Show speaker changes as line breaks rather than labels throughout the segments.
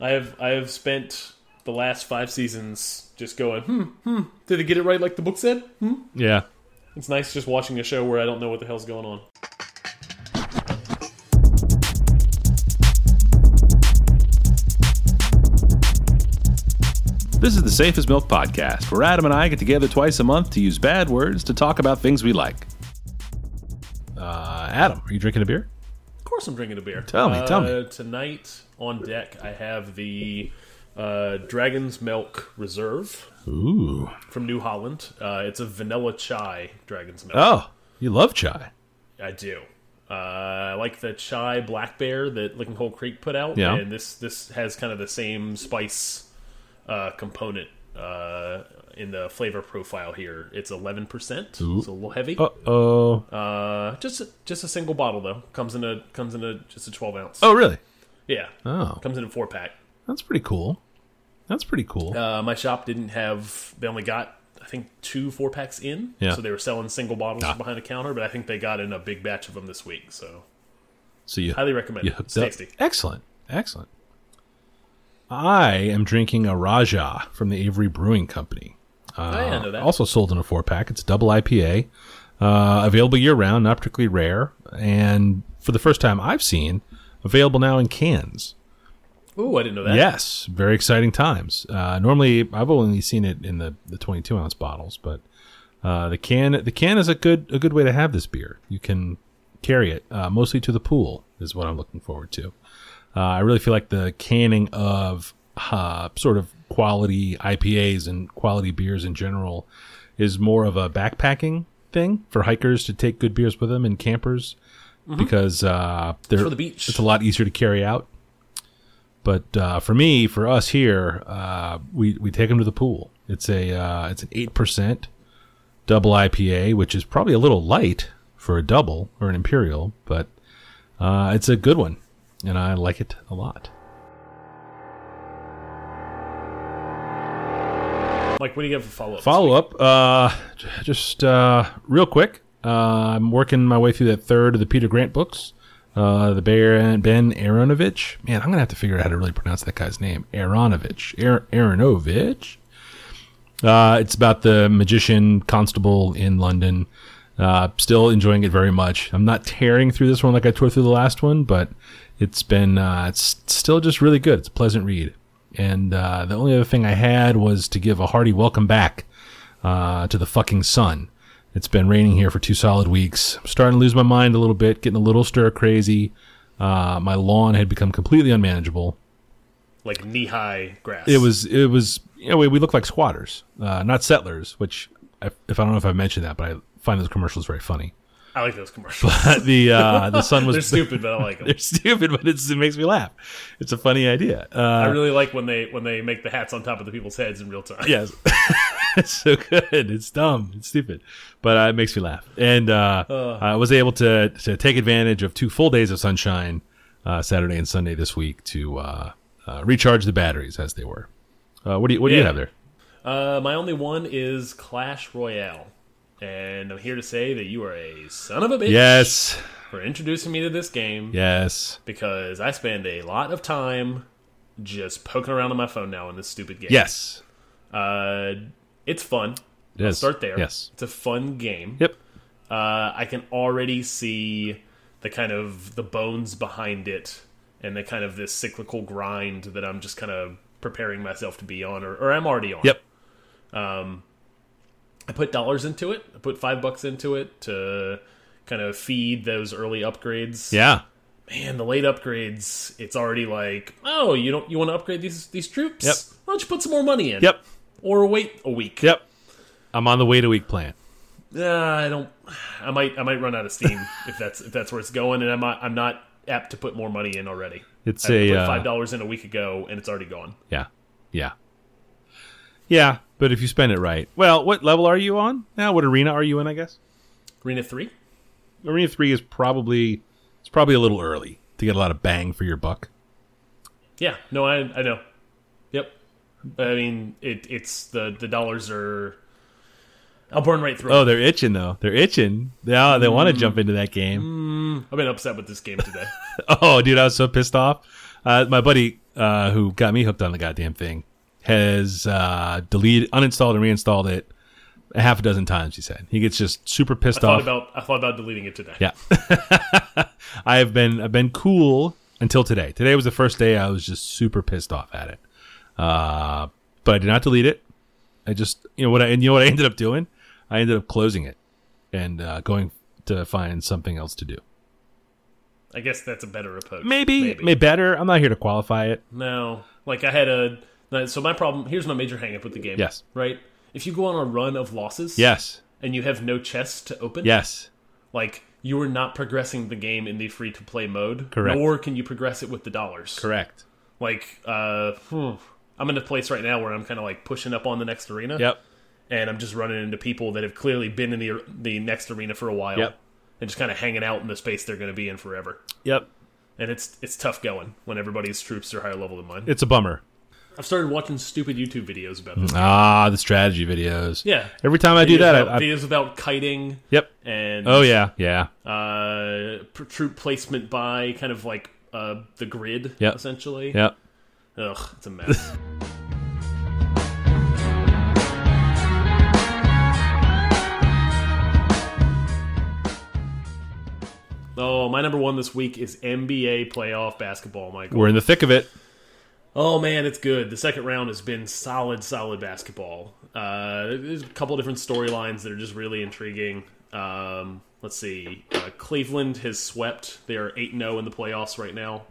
I have I have spent the last five seasons just going, hmm, hmm. Did it get it right like the book said? Hmm.
Yeah.
It's nice just watching a show where I don't know what the hell's going on.
This is the Safest Milk Podcast, where Adam and I get together twice a month to use bad words to talk about things we like. Uh, Adam, are you drinking a beer?
Of course, I'm drinking a beer.
Tell me, tell me.
Uh, Tonight on deck, I have the uh, Dragon's Milk Reserve
Ooh.
from New Holland. Uh, it's a vanilla chai Dragon's Milk.
Oh, you love chai.
I do. Uh, I like the chai black bear that Licking Hole Creek put out,
Yeah.
and this this has kind of the same spice uh, component uh, in the flavor profile here. It's eleven percent, it's a little heavy.
Uh oh.
Uh, just just a single bottle though. Comes in a comes in a just a twelve ounce.
Oh, really?
yeah,
Oh,
comes in a four pack.
that's pretty cool. That's pretty cool.
Uh, my shop didn't have. They only got I think two four packs in.
Yeah. Ah.
So they were selling single bottles behind the counter, but I think they got in a big batch of them this week. So
So you
highly recommend.
you
it. It's
hooked up.
tasty.
Excellent, excellent. I am drinking a Raja from the Avery Brewing Company.
I didn't know
Uh,
that.
Also sold in a four pack. It's double IPA, uh, available year round, not particularly rare, and for the first time I've seen, available now in cans.
Ooh, I didn't know that.
Yes, very exciting times. Uh, normally, I've only seen it in the, the 22 ounce bottles, but uh, the can the can is a good a good way to have this beer. You can carry it uh, mostly to the pool is what I'm looking forward to. Uh, I really feel like the canning of uh, sort of quality IPAs and quality beers in general is more of a backpacking thing for hikers to take good beers with them and campers because uh, they're
Mm-hmm. For the beach.
It's a lot easier to carry out. But uh, for me, for us here, uh, we we take them to the pool. It's a uh, it's an eight percent double IPA, which is probably a little light for a double or an imperial, but uh, it's a good one, and I like it a lot.
Like, what do you have for follow up?
Follow up, uh, j- just uh, real quick. Uh, I'm working my way through that third of the Peter Grant books. Uh, the Baron Ben Aronovich. Man, I'm gonna have to figure out how to really pronounce that guy's name. Aronovich. Ar- Aronovich. Uh, it's about the magician constable in London. Uh, still enjoying it very much. I'm not tearing through this one like I tore through the last one, but it's been uh, it's still just really good. It's a pleasant read. And uh, the only other thing I had was to give a hearty welcome back uh, to the fucking sun. It's been raining here for two solid weeks. I'm starting to lose my mind a little bit, getting a little stir crazy. Uh, my lawn had become completely unmanageable.
like knee high grass.
It was it was you know we, we look like squatters, uh, not settlers. Which I, if I don't know if I mentioned that, but I find those commercials very funny.
I like those commercials.
the uh, the sun was
They're stupid, but I like them.
they're stupid, but it's, it makes me laugh. It's a funny idea. Uh,
I really like when they when they make the hats on top of the people's heads in real time.
Yes. it's so good. It's dumb. It's stupid. But uh, it makes me laugh. And uh, I was able to, to take advantage of two full days of sunshine uh, Saturday and Sunday this week to uh, uh, recharge the batteries as they were. Uh, what do you What do you
Yeah.
have there?
Uh, my only one is Clash Royale, and I'm here to say that you are a son of a bitch
Yes.
for introducing me to this game
Yes.
because I spend a lot of time just poking around on my phone now in this stupid game.
Yes.
uh, it's fun.
Yes.
Start there.
Yes.
it's a fun game.
Yep.
uh, I can already see the kind of the bones behind it and the kind of this cyclical grind that I'm just kind of preparing myself to be on or, or I'm already on.
Yep.
I put dollars into it. I put five bucks into it to kind of feed those early upgrades.
Yeah.
Man, the late upgrades, it's already like, oh, you don't you want to upgrade these these troops?
Yep.
Why don't you put some more money in?
Yep.
Or wait a week.
Yep. I'm on the wait a week plan.
Uh, I don't. I might. I might run out of steam if that's if that's where it's going, and I'm not, I'm not apt to put more money in already.
It's
I
a
put
uh,
five dollars in a week ago, and it's already gone.
Yeah. Yeah. Yeah. But if you spend it right, well, what level are you on now? What arena are you in? I guess.
Arena three.
Arena three is probably it's probably a little early to get a lot of bang for your buck.
Yeah. No, I I know. Yep. I mean, it it's the the dollars are. I'll burn right through.
Oh, they're itching though. They're itching. They oh, they want to jump into that game.
it. I've been upset with this game today.
Oh, dude, I was so pissed off. Uh, my buddy uh, who got me hooked on the goddamn thing has uh, deleted, uninstalled, and reinstalled it a half a dozen times. He said he gets just super pissed
thought
off.
about I thought about deleting it today.
Yeah. I have been I've been cool until today. Today was the first day I was just super pissed off at it. Uh, but I did not delete it. I just you know what I and you know what I ended up doing? I ended up closing it and uh, going to find something else to do.
I guess that's a better approach.
Maybe, maybe better. I'm not here to qualify it.
No, like I had a so my problem. Here's my major hangup with the game.
Yes.
right. If you go on a run of losses,
Yes.
and you have no chests to open,
Yes.
like you are not progressing the game in the free to play mode.
Correct.
Nor can you progress it with the dollars.
Correct.
Like, uh, hmm, I'm in a place right now where I'm kind of like pushing up on the next arena.
Yep.
and I'm just running into people that have clearly been in the the next arena for a while,
Yep.
and just kind of hanging out in the space they're going to be in forever.
Yep.
And it's it's tough going when everybody's troops are higher level than mine.
It's a bummer.
I've started watching stupid YouTube videos about this.
Ah, the strategy videos.
Yeah,
Every time I do
videos
that,
about,
I, I
videos about kiting
yep.
and
Oh yeah, yeah.
uh, pr- troop placement by kind of like uh, the grid,
Yep.
essentially.
Yep.
Ugh, it's a mess. oh, my number one this week is NBA playoff basketball, Michael.
We're in the thick of it.
Oh man, it's good. The second round has been solid, solid basketball. Uh, there's a couple different storylines that are just really intriguing. Um, let's see. Uh, Cleveland has swept. They are eight zero in the playoffs right now.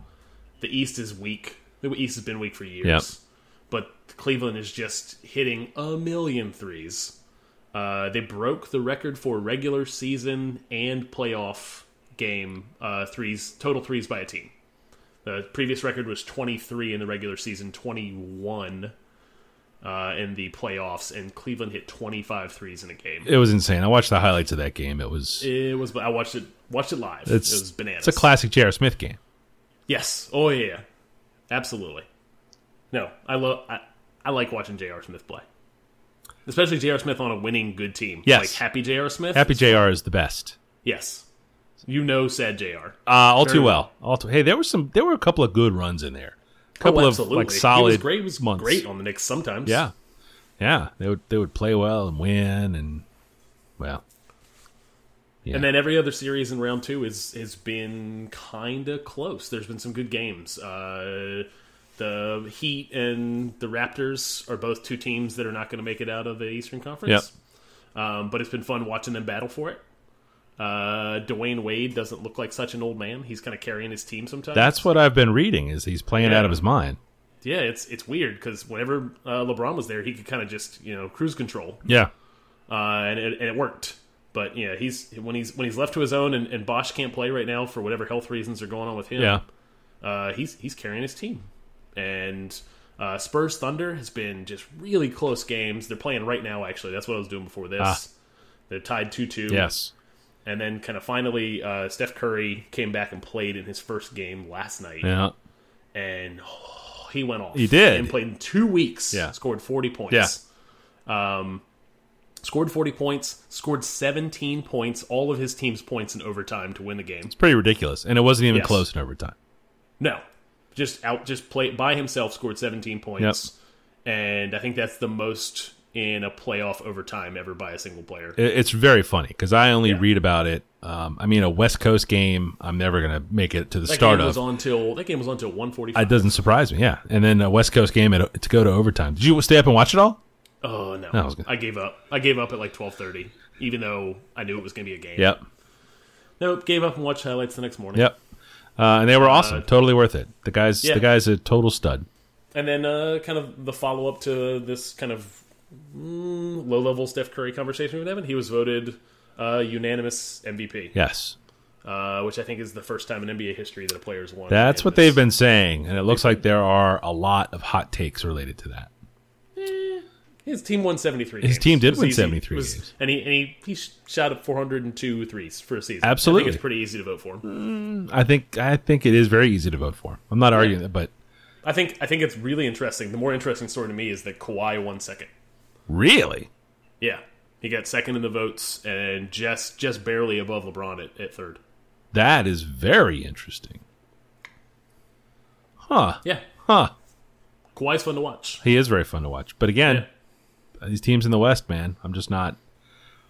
The East is weak. The East has been weak for years.
Yep.
But Cleveland is just hitting a million threes. Uh, they broke the record for regular season and playoff game uh, threes total threes by a team. The previous record was 23 in the regular season, 21 uh, in the playoffs, and Cleveland hit 25 threes in a game.
It was insane. I watched the highlights of that game. It was
It was, I watched it, watched it live.
It's-
it was bananas.
It's a classic J.R. Smith game.
Yes. Oh yeah, yeah. Absolutely. No, I love. I, I like watching J.R. Smith play, especially J.R. Smith on a winning good team.
Yes.
Like happy J.R. Smith.
Happy J.R. is the best.
Yes. You know, sad J.R.
Uh, all
Sure.
too well. All too, hey, there were some. There were a couple of good runs in there. A couple
Oh,
of
absolutely.
like solid
He was great. He was
months.
great on the Knicks sometimes.
Yeah, yeah. They would they would play well and win and well.
And then every other series in round two is has been kind of close. There's been some good games. Uh, the Heat and the Raptors are both two teams that are not going to make it out of the Eastern Conference. Um, but it's been fun watching them battle for it. Uh, Dwayne Wade doesn't look like such an old man. He's kind of carrying his team sometimes.
That's what I've been reading. Is he's playing
Yeah.
out of his mind?
yeah, it's it's weird because whenever uh, LeBron was there, he could kind of just you know cruise control.
Yeah,
uh, and, it, and it worked. But yeah, he's when he's when he's left to his own, and, and Bosch can't play right now for whatever health reasons are going on with him.
yeah.
uh, he's he's carrying his team, and uh, Spurs Thunder has been just really close games. They're playing right now, actually. That's what I was doing before this.
Ah.
They're tied two two.
Yes.
and then kind of finally, uh, Steph Curry came back and played in his first game last night,
Yeah.
and oh, he went off.
He did.
and played in two weeks.
Yeah.
scored forty points. Um, scored forty points. Scored seventeen points. All of his team's points in overtime to win the game.
It's pretty ridiculous, and it wasn't even
Yes.
close in overtime.
No, just out, just play by himself. Scored seventeen points, and I think that's the most in a playoff overtime ever by a single player.
It, it's very funny because I only read about it. Um, I mean, a West Coast game. I'm never gonna make it to the
that
start
game
of.
was on till that game was on till one forty
It
five.
doesn't surprise me. Yeah, and then a West Coast game at, to go to overtime. Did you stay up and watch it all?
Oh no,
I was gonna-
I gave up. I gave up at like twelve thirty, even though I knew it was going to be a game.
Yep,
Nope, gave up and watched highlights the next morning.
yep. Uh, and they were awesome. totally worth it. The guys,
Yeah.
the guys, a total stud.
And then uh, kind of the follow up to this kind of mm, low level Steph Curry conversation with Evan, he was voted uh, unanimous MVP,
Yes,
uh, which I think is the first time in NBA history that a player's won.
that's what they've
unanimous.
been saying, and it looks like there are a lot of hot takes related to that.
His team won 73
His
games.
team did
It was
win
easy.
73
It was-
games.
And he, and he, he sh- shot up 402 threes for a season. I
Absolutely.
think it's pretty easy to vote for him.
I think, I think it is very easy to vote for. I'm not arguing that, but
I think, I think it's really interesting. The more interesting story to me is that Kawhi won second.
really,
Yeah. He got second in the votes and just just barely above LeBron at, at third.
That is very interesting. Huh.
Yeah,
Huh.
Kawhi's fun to watch.
He is very fun to watch. But again, these teams in the West, man, I'm just not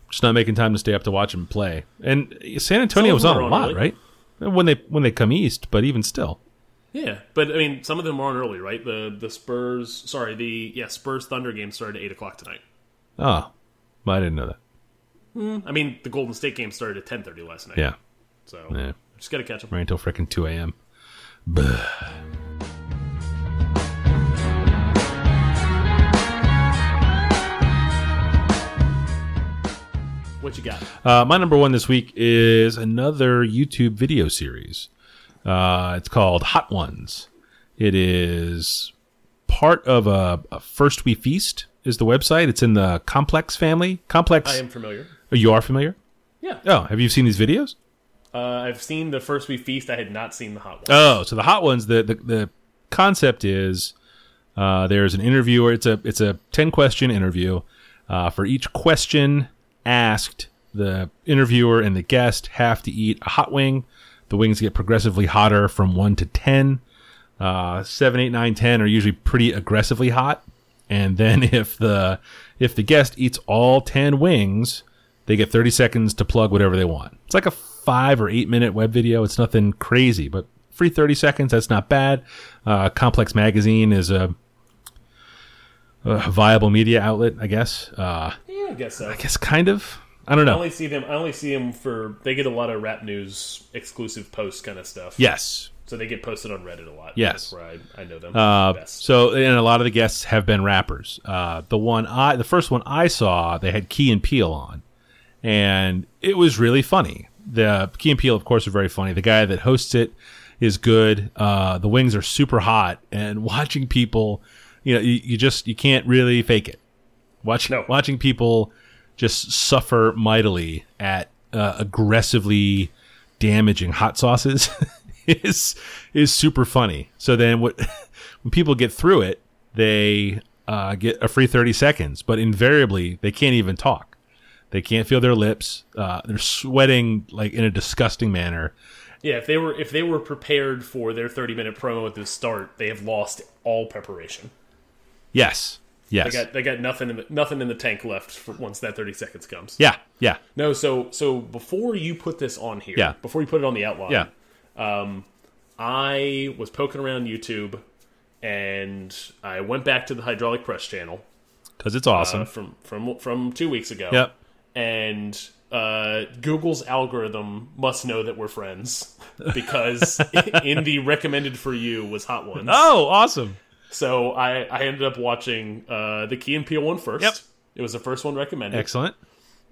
just not making time to stay up to watch them play. And San Antonio
Some
was
of
on
them are
a
on
lot,
early.
right? When they when they come east, but even still.
Yeah, but I mean, some of them are on early, right? The the Spurs, sorry, the yeah Spurs Thunder game started at eight o'clock tonight.
Oh. Well, I didn't know that.
I mean, the Golden State game started at ten thirty last night.
Yeah.
so
Yeah.
just gotta catch up.
Right until frickin' two AM. Bleh.
What you got?
Uh, my number one this week is another YouTube video series. Uh, it's called Hot Ones. It is part of a, a First We Feast is the website. It's in the Complex family. Complex.
I am familiar.
Oh, you are familiar.
Yeah,
Oh, have you seen these videos?
uh, I've seen the first we feast. I had not seen the hot one.
Oh, so the Hot Ones. The the, the concept is uh, there's an interviewer. It's a it's a ten question interview. Uh, for each question asked, the interviewer and the guest have to eat a hot wing. The wings get progressively hotter from one to ten. Uh, seven, eight, nine, ten are usually pretty aggressively hot. And then if the if the guest eats all ten wings, they get thirty seconds to plug whatever they want. It's like a five or eight minute web video. It's nothing crazy, but free thirty seconds. That's not bad. Uh, Complex Magazine is a, a viable media outlet, I guess. Uh,
yeah, I guess so.
I guess kind of. I don't know.
I only see them. I only see them for they get a lot of rap news exclusive post kind of stuff.
yes,
so they get posted on Reddit a lot.
Yes.
That's where I, I know them
Uh,
best.
so and a lot of the guests have been rappers. Uh, the one I, the first one I saw, they had Key and Peele on, and it was really funny. The Key and Peele, of course, are very funny. The guy that hosts it is good. Uh, the wings are super hot, and watching people, you know, you, you just you can't really fake it. Watching
No.
watching people just suffer mightily at uh, aggressively damaging hot sauces is is super funny. So then what when people get through it, they uh, get a free 30 seconds, but invariably they can't even talk. They can't feel their lips. Uh, they're sweating like in a disgusting manner.
Yeah, if they were if they were prepared for their thirty minute promo at the start, they have lost all preparation.
Yes.
They
Yes.
got they got nothing in the nothing in the tank left for once that thirty seconds comes.
yeah. Yeah.
No, so so before you put this on here,
Yeah.
before you put it on the outline,
Yeah.
I was poking around YouTube and I went back to the hydraulic press channel
Because it's awesome.
uh, from from from two weeks ago.
Yep.
And uh, Google's algorithm must know that we're friends because in the recommended for you was Hot Ones.
oh, awesome.
So I, I ended up watching uh, the Key and Peele one first.
Yep.
It was the first one recommended,
Excellent.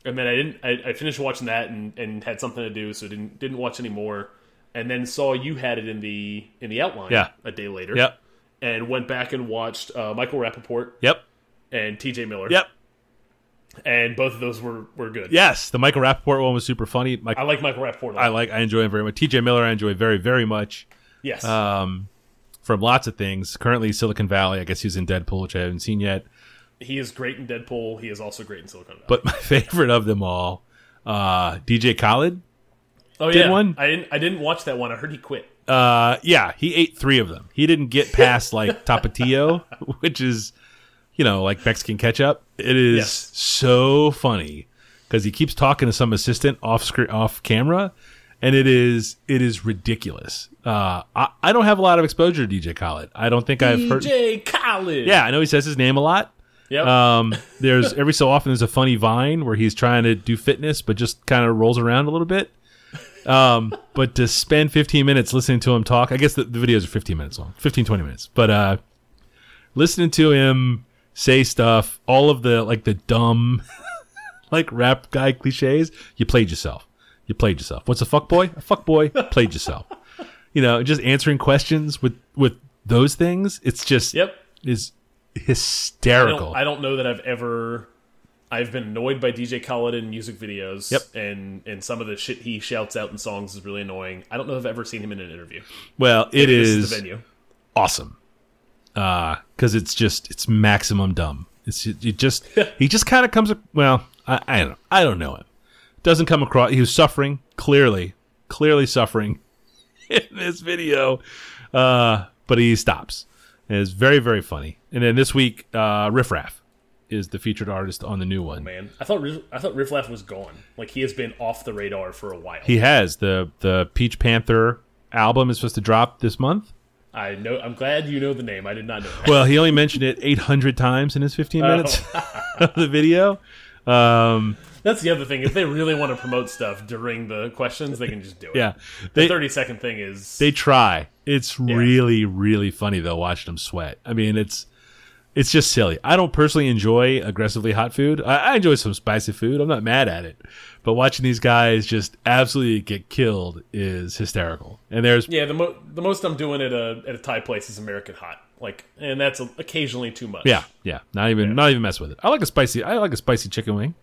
and then I didn't. I, I finished watching that and, and had something to do, so didn't didn't watch any more. And then saw you had it in the in the outline.
Yeah.
a day later.
Yep.
And went back and watched uh, Michael Rappaport
Yep.
and T.J. Miller.
Yep.
And both of those were were good.
Yes. The Michael Rappaport one was super funny. Mike,
I like Michael Rappaport. A lot.
I like, I enjoy him very much. TJ Miller, I enjoy very, very much.
yes.
Um, from lots of things. Currently, Silicon Valley. I guess he's in Deadpool, which I haven't seen yet.
he is great in Deadpool. He is also great in Silicon Valley.
but my favorite of them all, uh, DJ Khaled.
oh
did
yeah,
one?
I didn't. I didn't watch that one. I heard he quit.
Uh, yeah, he ate three of them. He didn't get past like Tapatio, which is, you know, like Mexican ketchup. It is
Yes.
so funny because he keeps talking to some assistant off screen, off camera, and it is it is ridiculous. Uh, I, I don't have a lot of exposure to DJ Khaled. I don't think I've heard.
DJ Collins.
Yeah, I know he says his name a lot.
Yep.
Um, there's every so often there's a funny vine where he's trying to do fitness, but just kind of rolls around a little bit. Um, but to spend 15 minutes listening to him talk, I guess the, the videos are 15 minutes long, 15, 20 minutes, but, uh, listening to him say stuff, all of the, like the dumb, like rap guy cliches, you played yourself. You played yourself. What's a fuck boy? A fuck boy played yourself. You know, just answering questions with, with those things. It's just,
Yep.
is
I
hysterical.
don't, I don't know that I've ever. I've been annoyed by DJ Khaled in music videos.
Yep.
And and some of the shit he shouts out in songs is really annoying. I don't know if I've ever seen him in an interview.
Well, it
This
is,
is the venue.
awesome Uh, because it's just it's maximum dumb. It's it, it just he just kind of comes. Well, I, I don't I don't know him. Doesn't come across. He was suffering clearly, clearly suffering in this video, uh, but he stops. And it's very very funny. And then this week, uh, Riff Raff is the featured artist on the new one.
man. I thought Riff- I thought Riff Raff was gone. Like he has been off the radar for a while.
He has the the Peach Panther album is supposed to drop this month.
I know. I'm glad you know the name. I did not know. That.
Well, he only mentioned it 800 times in his 15 minutes of the video. Um,
That's the other thing. If they really want to promote stuff during the questions, they can just do it.
yeah,
The
they
30 second thing is
they try. It's really really funny though watching them sweat. I mean, it's it's just silly. I don't personally enjoy aggressively hot food. I, I enjoy some spicy food. I'm not mad at it, but watching these guys just absolutely get killed is hysterical. And there's
yeah. The mo- the most I'm doing at a at a Thai place is American Hot. Like, and that's a, occasionally too much.
Yeah, yeah. Not even not even mess with it. I like a spicy I like a spicy chicken wing.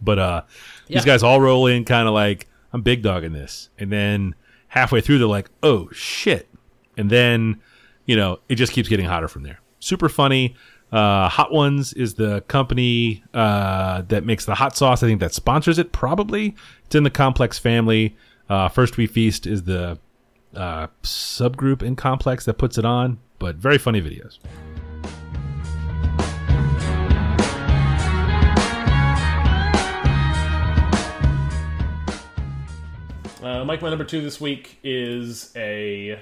But uh
Yeah.
these guys all roll in kind of like, I'm big dogging this. And then halfway through they're like, oh shit. And then, you know, it just keeps getting hotter from there. Super funny. Uh, Hot Ones is the company uh, that makes the hot sauce. I think that sponsors it, probably. It's in the Complex family. Uh, First We Feast is the uh, subgroup in Complex that puts it on, but very funny videos.
Uh, Mike, my number two this week is a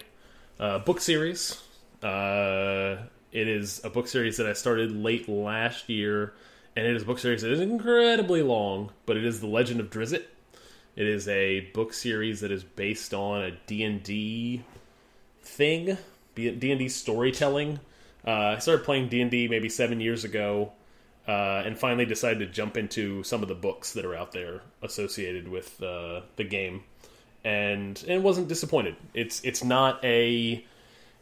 uh, book series. Uh, it is a book series that I started late last year, and it is a book series that is incredibly long, but it is The Legend of Drizzt. It is a book series that is based on a D&D thing, D- D&D storytelling. Uh, I started playing D&D maybe seven years ago, uh, and finally decided to jump into some of the books that are out there associated with uh, the game, and and wasn't disappointed. It's it's not a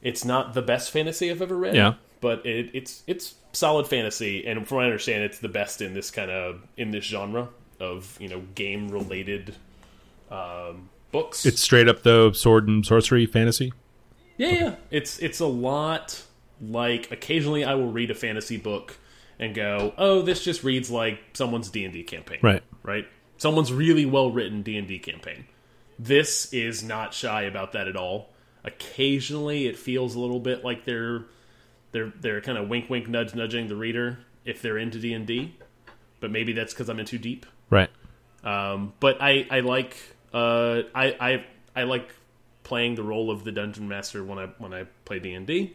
it's not the best fantasy I've ever read,
Yeah.
but it, it's it's solid fantasy, and from what I understand, it's the best in this kind of in this genre of you know game related um, books.
It's straight up though sword and sorcery fantasy.
Yeah, yeah. It's it's a lot like occasionally I will read a fantasy book and go, "Oh, this just reads like someone's D&D campaign."
Right.
Right? Someone's really well-written D&D campaign. This is not shy about that at all. Occasionally it feels a little bit like they're they're they're kind of wink wink nudge nudging the reader if they're into D&D, but maybe that's cuz I'm in too deep.
Right.
Um, but I, I like uh, I, I I like playing the role of the dungeon master when I when I play D anD D.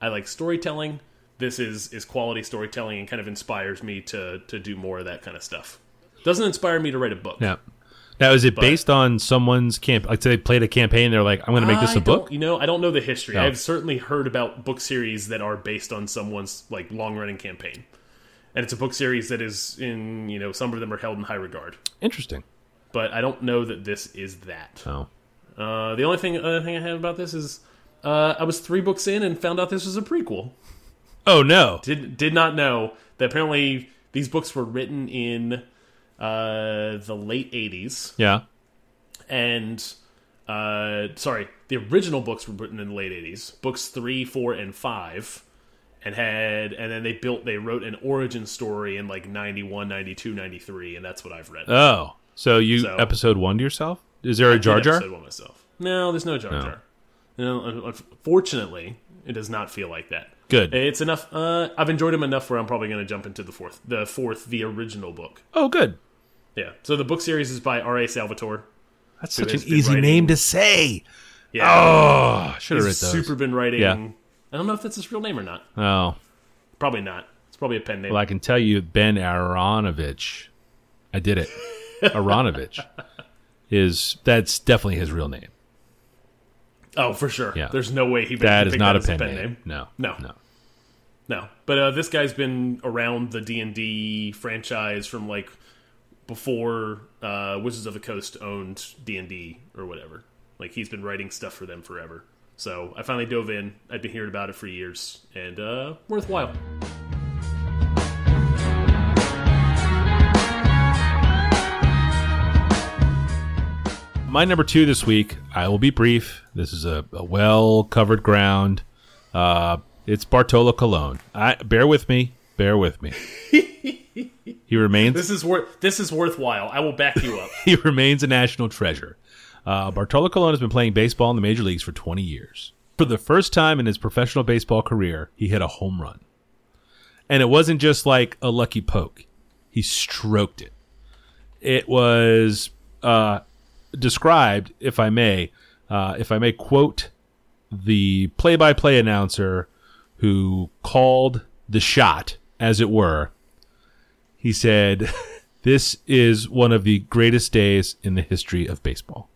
I like storytelling. This is is quality storytelling and kind of inspires me to to do more of that kind of stuff. Doesn't inspire me to write a book.
Yeah. Now is it based on someone's camp like they played a campaign they're like, I'm gonna make this
I
a book?
don't- You know, I don't know the history.
No.
I've certainly heard about book series that are based on someone's like long running campaign. And it's a book series that is in, you know, some of them are held in high regard.
Interesting.
But I don't know that this is that.
Oh.
Uh, the only thing other thing I have about this is uh, I was three books in and found out this was a prequel.
Oh no.
Did did not know that apparently these books were written in uh, the late '80s
Yeah.
and uh, sorry, the original books were written in the late '80s. Books three, four, and five. And had and then they built they wrote an origin story in like 91 92 93 and that's what i've read
Oh. So you
So-
episode one to yourself? Is there a Jar
did
Jar?
episode one myself. No, there's no Jar Jar. No, un- unfortunately, it does not feel like that.
Good.
It's enough. Uh, I've enjoyed him enough where I'm probably going to jump into the fourth, the fourth, the original book.
Oh good.
Yeah. So the book series is by R. A. Salvatore.
That's such an
has been
easy
writing-
name to say.
Yeah.
Oh should have read
he's
those.
super been writing.
Yeah.
I don't know if that's his real name or not.
oh.
Probably not. It's probably a pen name.
Well I can tell you Ben Aronovich. I did it. Aronovich is that's definitely his real name.
oh, for sure.
Yeah.
There's no way he
That is
picked
not a
as
pen, name. No.
No.
No.
No, but uh, this guy's been around the D and D franchise from like before uh, Wizards of the Coast owned D and D or whatever. Like he's been writing stuff for them forever. So I finally dove in. I'd been hearing about it for years, and uh, worthwhile.
My number two this week, I will be brief. This is a, a well covered ground. Uh, it's Bartolo Colon. I, bear with me. Bear with me. He remains
This is worth this is worthwhile. I will back you up.
he remains a national treasure. Uh, Bartolo Colon has been playing baseball in the major leagues for 20 years. For the first time in his professional baseball career, he hit a home run. And it wasn't just like a lucky poke, he stroked it. It was uh, described, if I may, uh, if I may quote the play by play announcer who called the shot, as it were. He said, This is one of the greatest days in the history of baseball.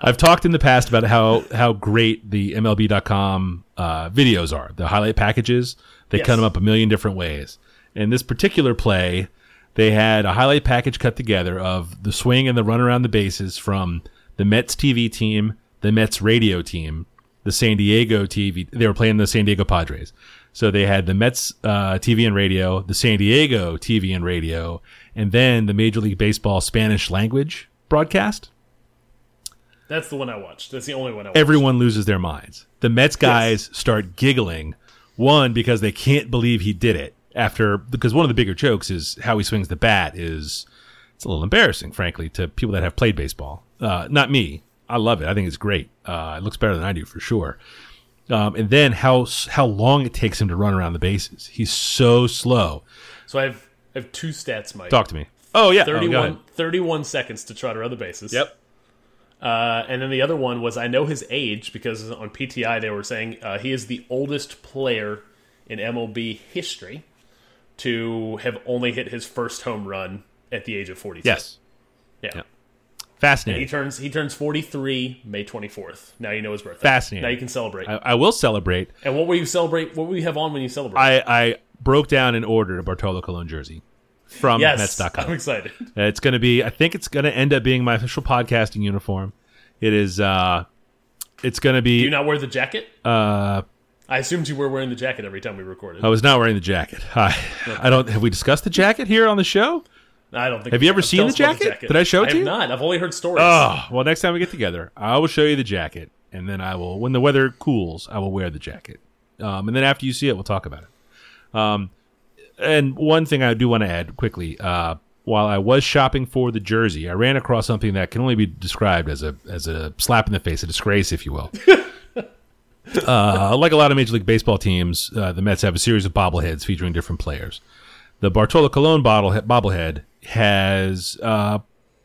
I've talked in the past about how, how great the MLB.com uh, videos are, the highlight packages. They
Yes.
cut them up a million different ways. In this particular play, they had a highlight package cut together of the swing and the run around the bases from the Mets TV team, the Mets radio team, the San Diego TV. They were playing the San Diego Padres. So they had the Mets uh, TV and radio, the San Diego TV and radio, and then the Major League Baseball Spanish language broadcast.
That's the one I watched. That's the only one I watched.
Everyone loses their minds. The Mets guys start giggling, one because they can't believe he did it after because one of the bigger jokes is how he swings the bat is it's a little embarrassing, frankly, to people that have played baseball. Uh, not me. I love it. I think it's great. Uh, it looks better than I do for sure. Um, and then how s- how long it takes him to run around the bases. He's so slow.
So I have I have two stats, Mike.
Talk to me. Oh yeah, Oh, go
31,
ahead.
31 seconds to try to run the bases.
Yep.
Uh, and then the other one was I know his age because on PTI they were saying uh, he is the oldest player in MLB history to have only hit his first home run at the age of 42.
Yes.
Yeah.
Fascinating.
He turns he turns 43 May 24th. Now you know his birthday.
Fascinating.
Now you can celebrate.
I, I will celebrate.
and what will you celebrate? What will you have on when you celebrate?
I, I broke down and ordered a Bartolo Colon jersey from
yes. I'm
Mets.com.
excited.
It's going to be. I think it's going to end up being my official podcasting uniform. It is. uh It's going to
Do you
be.
not wear the jacket?
uh Oh.
I assumed you were wearing the jacket every time we recorded.
I was not wearing the jacket. I, I don't. Have we discussed the jacket here on the show?
I don't think.
Have you ever seen
tell
the
us about
jacket? Did I show it
I
to
have
you?
Not. I've only heard stories.
Oh, well, next time we get together, I will show you the jacket, and then I will, when the weather cools, I will wear the jacket, um, and then after you see it, we'll talk about it. Um, and one thing I do want to add quickly, uh, while I was shopping for the jersey, I ran across something that can only be described as a as a slap in the face, a disgrace, if you will. uh, like a lot of Major League Baseball teams, uh, the Mets have a series of bobbleheads featuring different players. The Bartolo Colon bottle, bobblehead has uh,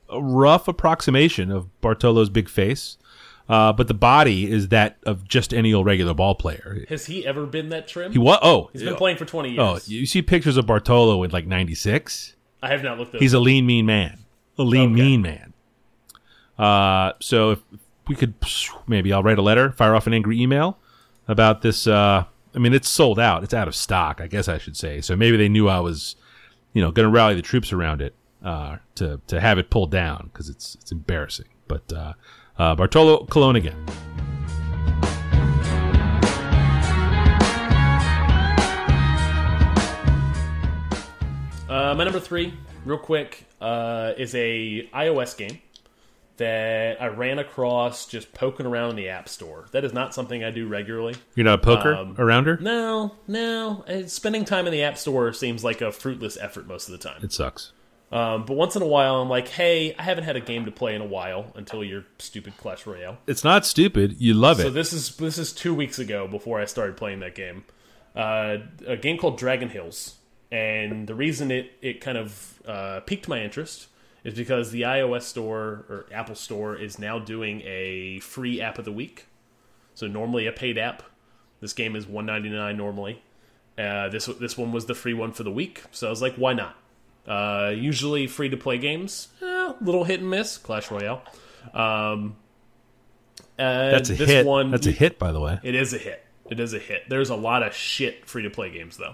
a rough approximation of Bartolo's big face, uh, but the body is that of just any old regular ball player.
Has he ever been that trim?
He was oh,
He's been playing for 20 years.
oh, you see pictures of Bartolo in like '96.
I have not looked at
He's a lean, mean man. A lean,
Okay.
mean man. Uh, so if we could, maybe I'll write a letter, fire off an angry email about this. Uh, I mean, it's sold out. It's out of stock, I guess I should say. So maybe they knew I was, you know, going to rally the troops around it uh, to to have it pulled down because it's it's embarrassing. But uh, uh, Bartolo Colon again.
Uh, my number three, real quick, uh, is a iOS game that I ran across just poking around in the App Store. That is not something I do regularly.
You're not a poker around her.
Um, No, no. uh, Spending time in the App Store seems like a fruitless effort most of the time.
It sucks.
Um, but once in a while, I'm like, hey, I haven't had a game to play in a while until your stupid Clash Royale.
It's not stupid. You love
So
it.
this is this is two weeks ago before I started playing that game. Uh, a game called Dragon Hills, and the reason it it kind of uh, piqued my interest is because the iOS store or Apple store is now doing a free app of the week. So normally a paid app. This game is one ninety nine normally. Uh, this this one was the free one for the week, so I was like, why not? Uh, usually free to play games, eh, little hit and miss. Clash Royale. Um, uh,
That's a
this
hit.
One,
That's a hit, by the way.
it is a hit. It is a hit. There's a lot of shit free to play games though.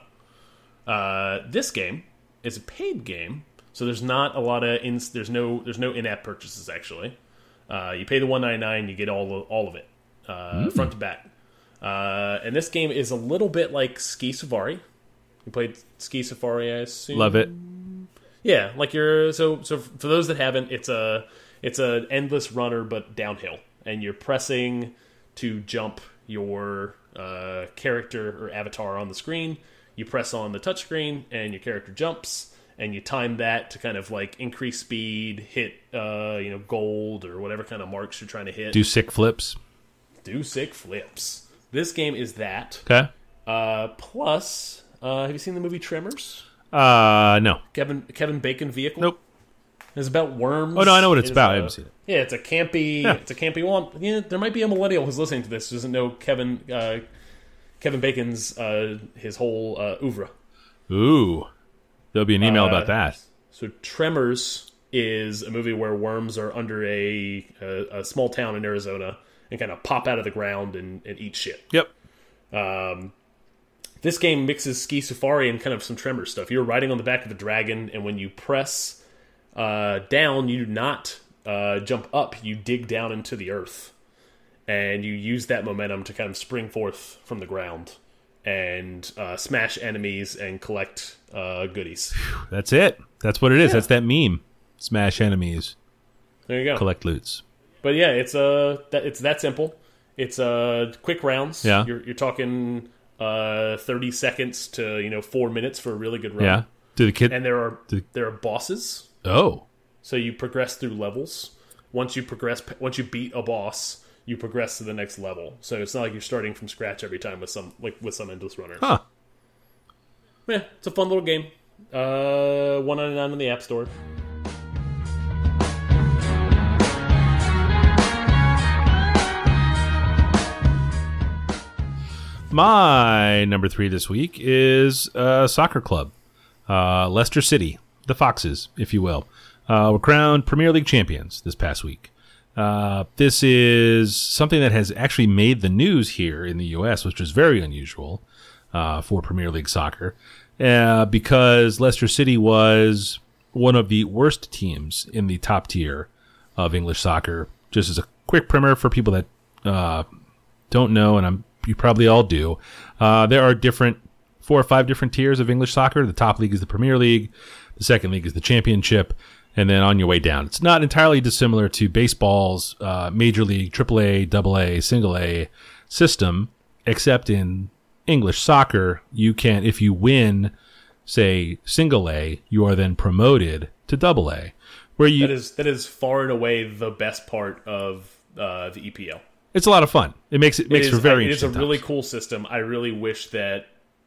Uh, this game is a paid game, so there's not a lot of in, there's no there's no in app purchases actually. Uh, you pay the 199, you get all of, all of it uh, front to back. Uh, and this game is a little bit like Ski Safari. You played Ski Safari, I assume.
Love it.
Yeah, like you're so so for those that haven't, it's a it's an endless runner but downhill, and you're pressing to jump your uh, character or avatar on the screen. you press on the touchscreen and your character jumps and you time that to kind of like increase speed, hit uh, you know gold or whatever kind of marks you're trying to hit.
Do sick flips.
Do sick flips. This game is that.
Okay.
Uh, plus, uh, have you seen the movie Tremors?
Uh, no.
Kevin Kevin Bacon vehicle.
Nope.
It's about worms.
Oh, no, I know what it's
is uh,
about. I
a-
haven't seen it.
Yeah, it's a campy.
Yeah.
It's a campy one. Yeah, there might be a millennial who's listening to this who doesn't know Kevin uh, Kevin Bacon's uh, his whole uh, oeuvre.
Ooh. There'll be an email
Uh,
about that.
So Tremors is a movie where worms are under a a, a small town in Arizona and kind of pop out of the ground and, and eat shit.
Yep.
This game mixes Ski Safari and kind of some Tremors stuff. You're riding on the back of a dragon, and when you press uh, down, you do not uh, jump up. You dig down into the earth, and you use that momentum to kind of spring forth from the ground and uh, smash enemies and collect uh, goodies.
That's it. That's what it is. That's that meme. Smash enemies,
There you go.
collect loots.
But yeah, it's uh, that, it's that simple. It's uh, quick rounds.
Yeah.
you're, you're talking uh, thirty seconds to you know four minutes for a really good run.
Yeah. Do the kid.
and there are
Did-
there are bosses,
oh.
so you progress through levels. Once you progress, once you beat a boss, you progress to the next level. So it's not like you're starting from scratch every time with some like with some endless runner.
Huh.
Yeah, it's a fun little game. Uh, one ninety nine in the App Store.
My number three this week is uh, soccer club, uh, Leicester City, the Foxes, if you will, uh, were crowned Premier League champions this past week. Uh, this is something that has actually made the news here in the U.S., which is very unusual uh, for Premier League soccer, uh, because Leicester City was one of the worst teams in the top tier of English soccer. Just as a quick primer for people that don't know, and I'm you probably all do. Uh, there are different four or five different tiers of English soccer. The top league is the Premier League, the second league is the Championship, and then on your way down. It's not entirely dissimilar to baseball's uh, major league, AAA, AA, Single A system, except in English soccer, you can if you win, say Single A, you are then promoted to Double A, where you
That is that is far and away the best part of uh, the EPL.
it's a lot of fun. It makes it makes
It
for
is-
very
It is
interesting
a really
times.
cool system. I really wish that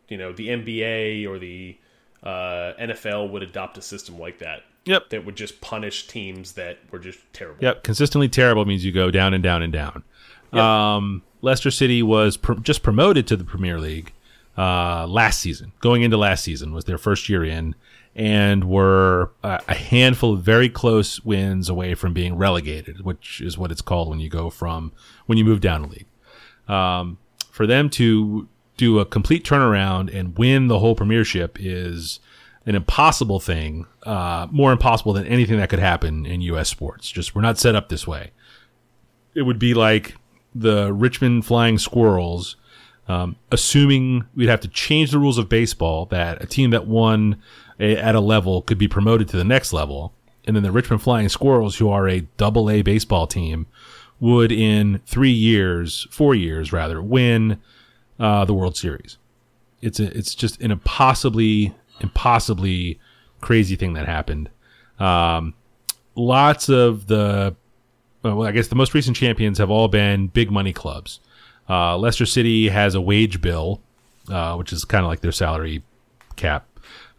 you know the NBA or the uh, NFL would adopt a system like that
yep
that would just punish teams that were just terrible.
Yep, consistently terrible means you go down and down and down. Um, Leicester City was pr- just promoted to the Premier League uh, last season. Going into last season was their first year in, and were a, a handful of very close wins away from being relegated, which is what it's called when you go from when you move down a league for them to do a complete turnaround and win the whole premiership is an impossible thing, uh, more impossible than anything that could happen in U.S. sports. Just we're not set up this way. It would be like the Richmond Flying Squirrels, um, assuming we'd have to change the rules of baseball that a team that won a, at a level could be promoted to the next level, and then the Richmond Flying Squirrels, who are a Double A baseball team, would in three years, four years rather, win uh, the World Series. It's a, it's just an impossibly, impossibly crazy thing that happened. Um, lots of the, well, I guess the most recent champions have all been big money clubs. Uh, Leicester City has a wage bill, uh, which is kind of like their salary cap,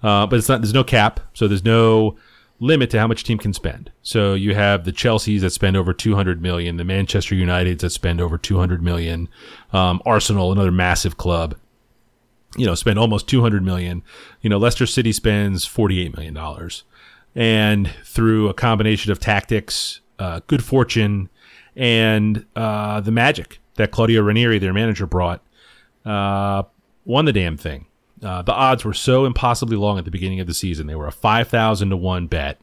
uh, but it's not. There's no cap, so there's no limit to how much a team can spend. So you have the Chelseas that spend over 200 million, the Manchester Uniteds that spend over 200 million, um, Arsenal, another massive club, you know, spend almost 200 million. You know, Leicester City spends 48 million dollars, and through a combination of tactics, uh, good fortune, and uh, the magic that Claudio Ranieri, their manager, brought, uh, won the damn thing. Uh, the odds were so impossibly long at the beginning of the season. They were a 5,000 to 1 bet,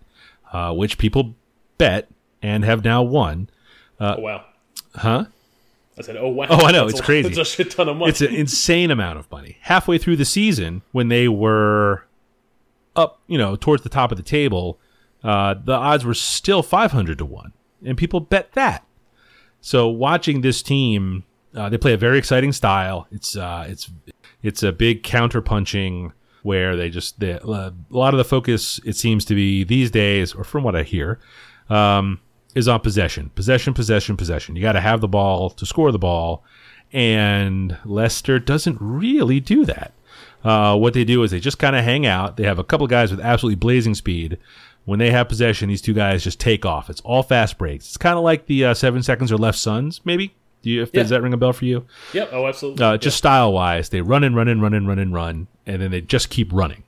uh, which people bet and have now won.
Oh wow.
Huh?
I said, oh wow.
Oh, I know,
That's
it's
a-
crazy.
That's a shit ton of money.
It's an insane amount of money. Halfway through the season, when they were up, you know, towards the top of the table, uh, the odds were still 500 to 1. And people bet that. So watching this team, uh, they play a very exciting style. It's uh, it's it's a big counterpunching where they just they, uh, a lot of the focus it seems to be these days, or from what I hear, um, is on possession, possession, possession, possession. You got to have the ball to score the ball, and Leicester doesn't really do that. Uh, what they do is they just kind of hang out. They have a couple guys with absolutely blazing speed. When they have possession, these two guys just take off. It's all fast breaks. It's kind of like the uh, seven seconds or left Suns, maybe. Do you, if,
Yeah.
Does that ring a bell for you?
Yep. Oh, absolutely.
Uh, just style wise, they run and run and run and run and run, and then they just keep running.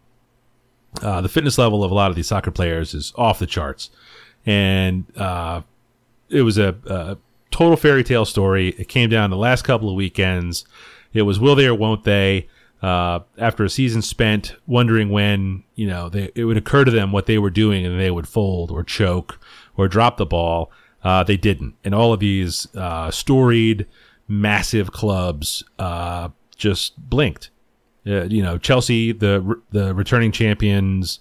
Uh, the fitness level of a lot of these soccer players is off the charts, and uh, it was a, a total fairy tale story. It came down to the last couple of weekends. It was will they or won't they? Uh, after a season spent wondering when you know they, it would occur to them what they were doing, and they would fold or choke or drop the ball. Uh, they didn't, and all of these uh, storied, massive clubs uh, just blinked. Uh, you know, Chelsea, the the returning champions,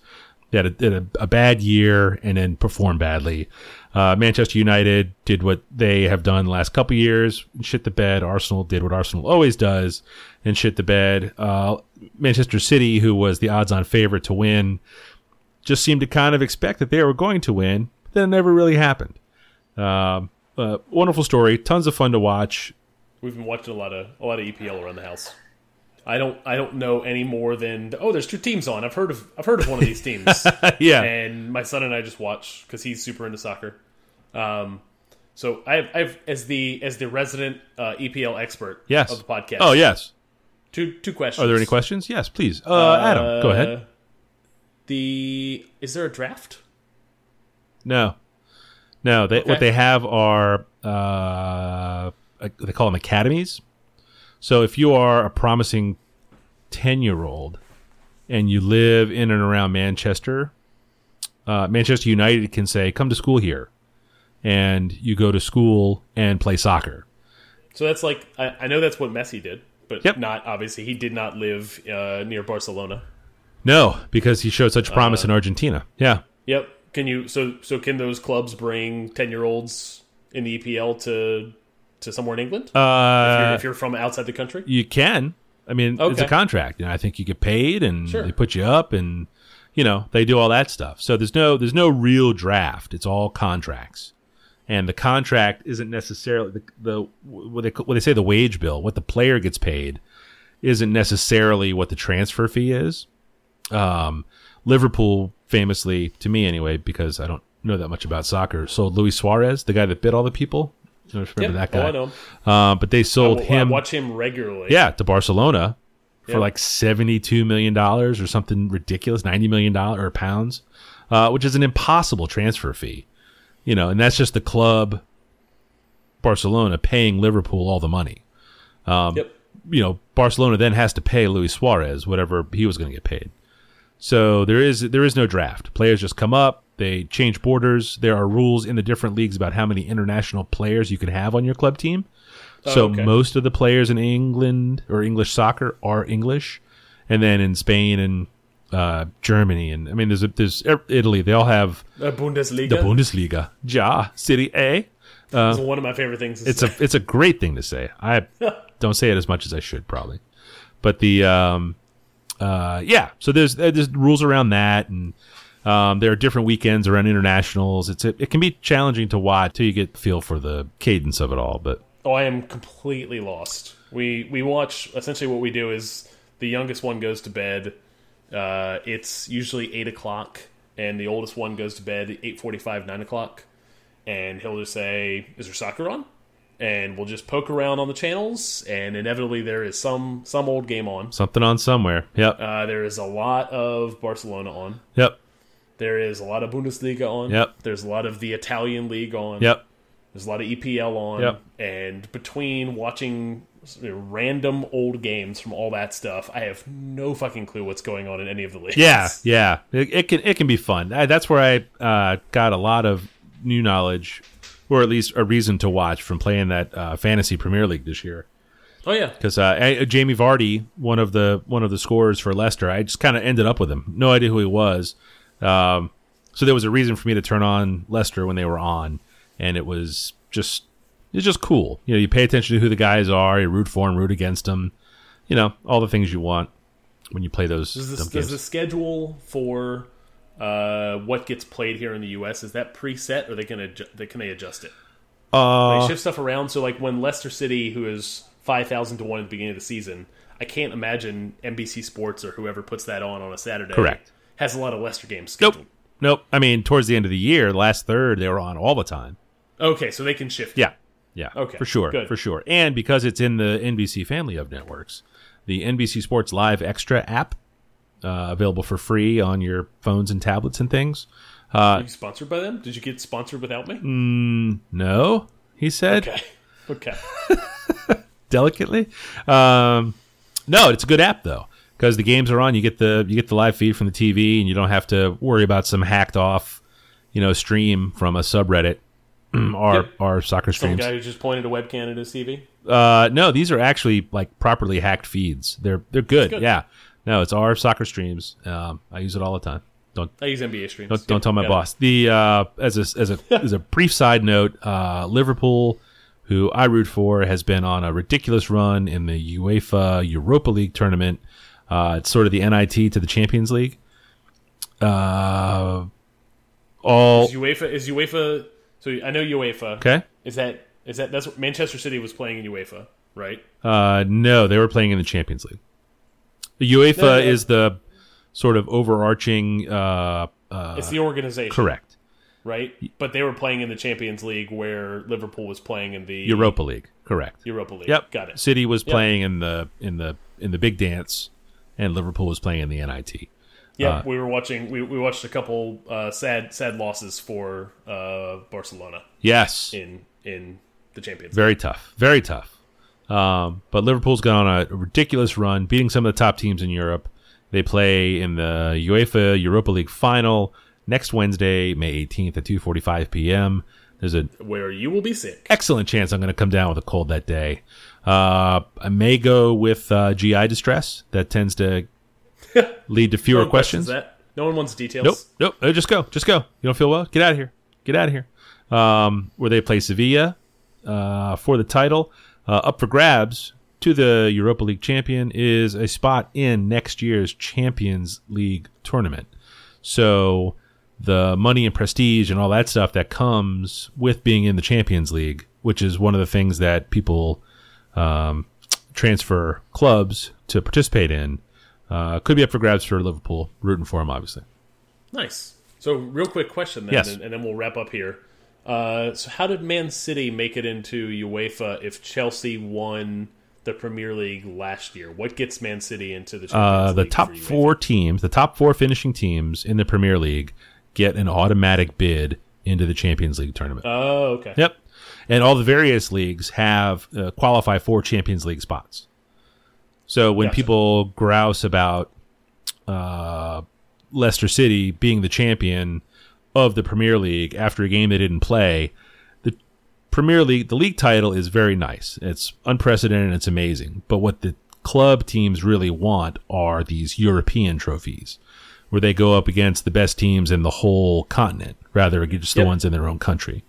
they had, a, did a, a bad year and then performed badly. Uh, Manchester United did what they have done the last couple years, and shit the bed. Arsenal did what Arsenal always does, and shit the bed. Uh, Manchester City, who was the odds-on favorite to win, just seemed to kind of expect that they were going to win, but then it never really happened. Um, uh, wonderful story, tons of fun to watch.
We've been watching a lot of a lot of EPL around the house. I don't I don't know any more than oh, there's two teams on. I've heard of I've heard of one of these teams.
yeah,
and my son and I just watch because he's super into soccer. Um, so I've, I've as the as the resident uh, EPL expert
yes.
of the podcast.
Oh yes.
two two questions.
Are there any questions? Yes, please. Uh, Adam, go ahead.
The is there a draft?
No, no. They, What
Okay.
they have are uh, they call them academies. So if you are a promising ten-year-old and you live in and around Manchester, uh, Manchester United can say, "Come to school here," and you go to school and play soccer.
So that's like I, I know that's what Messi did, but
Yep.
not obviously he did not live uh, near Barcelona.
No, because he showed such promise in Argentina. Yeah.
Yep. Can you so so can those clubs bring ten year olds in the EPL to to somewhere in England if, you're,
Uh,
if you're from outside the country?
you can. I mean, it's a
Okay.
contract, and I think you get paid, and
Sure.
they put you up, and you know they do all that stuff. So there's no there's no real draft. It's all contracts, and the contract isn't necessarily the the what they what they say the wage bill, what the player gets paid, isn't necessarily what the transfer fee is. Um, Liverpool famously, to me anyway, because I don't know that much about soccer, sold Luis Suarez, the guy that bit all the people. I don't know if you remember
Yeah.
that
Oh,
guy.
I know. him.
Uh, but they sold
Well, I
him.
watch him regularly.
Yeah, to Barcelona for
Yeah.
like seventy-two million dollars or something ridiculous, ninety million dollars or pounds, uh, which is an impossible transfer fee. You know, and that's just the club, Barcelona, paying Liverpool all the money.
Yep.
You know, Barcelona then has to pay Luis Suarez whatever he was going to get paid. So there is there is no draft. Players just come up. They change borders. There are rules in the different leagues about how many international players you can have on your club team. So
okay.
most of the players in England or English soccer are English, and then in Spain and uh, Germany and I mean there's a, there's Italy. They all have
Uh, Bundesliga.
the Bundesliga, Ja, City A.
It's one of my favorite things.
It's a it's a great thing to say. I don't say it as much as I should probably, but the um, uh, yeah. So there's uh, there's rules around that, and um, there are different weekends around internationals. It's it, it can be challenging to watch till you get the feel for the cadence of it all, but.
oh, I am completely lost. We we watch essentially what we do is the youngest one goes to bed. Uh, it's usually eight o'clock, and the oldest one goes to bed at eight forty-five, nine o'clock, and he'll just say, "Is there soccer on?" And we'll just poke around on the channels, and inevitably there is some some old game on.
Something on somewhere. Yep.
Uh, there is a lot of Barcelona on.
Yep.
There is a lot of Bundesliga on.
Yep.
There's a lot of the Italian league on.
Yep.
There's a lot of EPL on,
Yep.
and between watching you know, random old games from all that stuff, I have no fucking clue what's going on in any of the leagues.
Yeah, yeah. It, it can it can be fun. I, that's where I uh, got a lot of new knowledge, or at least a reason to watch from playing that uh, fantasy Premier League this year.
Oh yeah.
Because uh, I- Jamie Vardy, one of the one of the scorers for Leicester, I just kind of ended up with him. No idea who he was. Um, so there was a reason for me to turn on Leicester when they were on, and it was just it's just cool. You know, you pay attention to who the guys are, you root for them, root against them. you know all the things you want when you play those
Does, this,
dumb
does
games.
the schedule for uh, what gets played here in the U.S. is that preset, or they can adju- they, can they adjust it?
uh,
They shift stuff around. So like when Leicester City, who is five thousand to one at the beginning of the season, I can't imagine NBC Sports or whoever puts that on on a Saturday.
Correct.
Has a lot of Leicester games scheduled.
nope, nope. I mean, towards the end of the year, last third, they were on all the time.
Okay, so they can shift.
Yeah, yeah.
Okay,
for sure,
good.
for sure. And because it's in the NBC family of networks, the NBC Sports Live Extra app uh, available for free on your phones and tablets and things.
Are you sponsored by them? Did you get sponsored without me?
Mm. No, he said.
Okay. Okay.
delicately. Um, no, it's a good app though because the games are on. You get the you get the live feed from the TV, and you don't have to worry about some hacked off, you know, stream from a subreddit or
Yep.
or soccer
Some
streams.
guy who just pointed a webcam at his TV.
Uh, no, these are actually like properly hacked feeds. They're they're good.
good.
Yeah. No, it's our soccer streams. Um, I use it all the time. Don't
I use NBA streams.
don't, don't tell my
Got it.
boss. The uh, as a as a as a brief side note, uh, Liverpool, who I root for, has been on a ridiculous run in the UEFA Europa League tournament. Uh, it's sort of the NIT to the Champions League. Uh, all
Is UEFA is UEFA so I know UEFA.
okay.
Is that is that that's what Manchester City was playing in UEFA, right?
Uh, no, they were playing in the Champions League. The UEFA
No, no, no.
is the sort of overarching. Uh, uh,
It's the organization,
correct
right? But they were playing in the Champions League where Liverpool was playing in the
Europa League. Correct.
Europa League.
Yep, Uh,
Got it.
City was playing in the in the in the big dance, and Liverpool was playing in the NIT.
Yep, we were watching we, we watched a couple uh, sad sad losses for uh, Barcelona
Yes,
in in the Champions League.
very tough, very tough. Um, but Liverpool's gone on a ridiculous run, beating some of the top teams in Europe. They play in the UEFA Europa League final next Wednesday, May eighteenth at two forty five p.m. There's an
Where you will be sick.
excellent chance I'm going to come down with a cold that day. Uh, I may go with uh, GI distress. That tends to lead to fewer
No questions
questions.
that no one wants details.
Nope, nope. Uh, just go, just go. You don't feel well? Get out of here. Get out of here. Um, where they play Sevilla uh, for the title, uh, up for grabs to the Europa League champion is a spot in next year's Champions League tournament. So the money and prestige and all that stuff that comes with being in the Champions League, which is one of the things that people um, transfer clubs to participate in, uh, could be up for grabs for Liverpool. Rooting for them, obviously.
Nice. So, real quick question then,
Yes.
and, and then we'll wrap up here. Uh, so, how did Man City make it into UEFA if Chelsea won the Premier League last year? What gets Man City into the Champions
Uh, the
League
top
for UEFA?
four teams, the top four finishing teams in the Premier League, get an automatic bid into the Champions League tournament.
Oh, okay.
Yep, and all the various leagues have uh, qualify for Champions League spots. So when
Gotcha.
people grouse about uh, Leicester City being the champion of the Premier League after a game they didn't play, the Premier League, the league title is very nice. It's unprecedented and it's amazing. But what the club teams really want are these European trophies where they go up against the best teams in the whole continent rather than just the
Yep.
ones in their own country.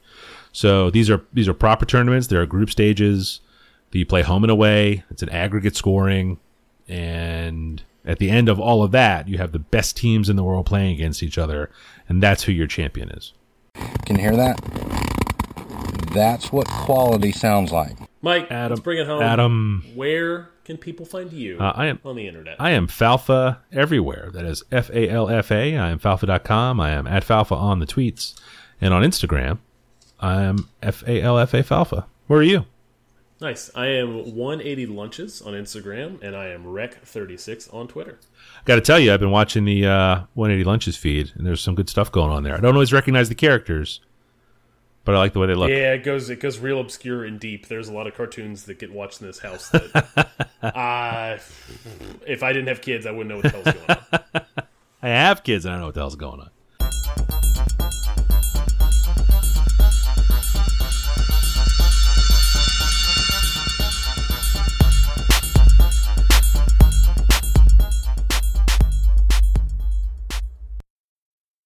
So these are these are proper tournaments. There are group stages. You play home and away. It's an aggregate scoring, and at the end of all of that, you have the best teams in the world playing against each other, and that's who your champion is.
Can you hear that? That's what quality sounds like.
Mike,
Adam-
let's bring it home.
Adam.
Where can people find you
Uh, I am
on the internet?
I am Falfa everywhere. That is F A L F A. I am Falfa.com. I am at Falfa on the tweets and on Instagram. I am F A L F A Falfa. Where are you?
nice. I am 180 Lunches on Instagram, and I am Rec36 on Twitter.
Got to tell you, I've been watching the uh, 180 Lunches feed, and there's some good stuff going on there. I don't always recognize the characters, but I like the way they look.
Yeah, it goes it goes real obscure and deep. There's a lot of cartoons that get watched in this house that uh, if I didn't have kids, I wouldn't know what the hell's going on.
I have kids, and I know what the hell's going on.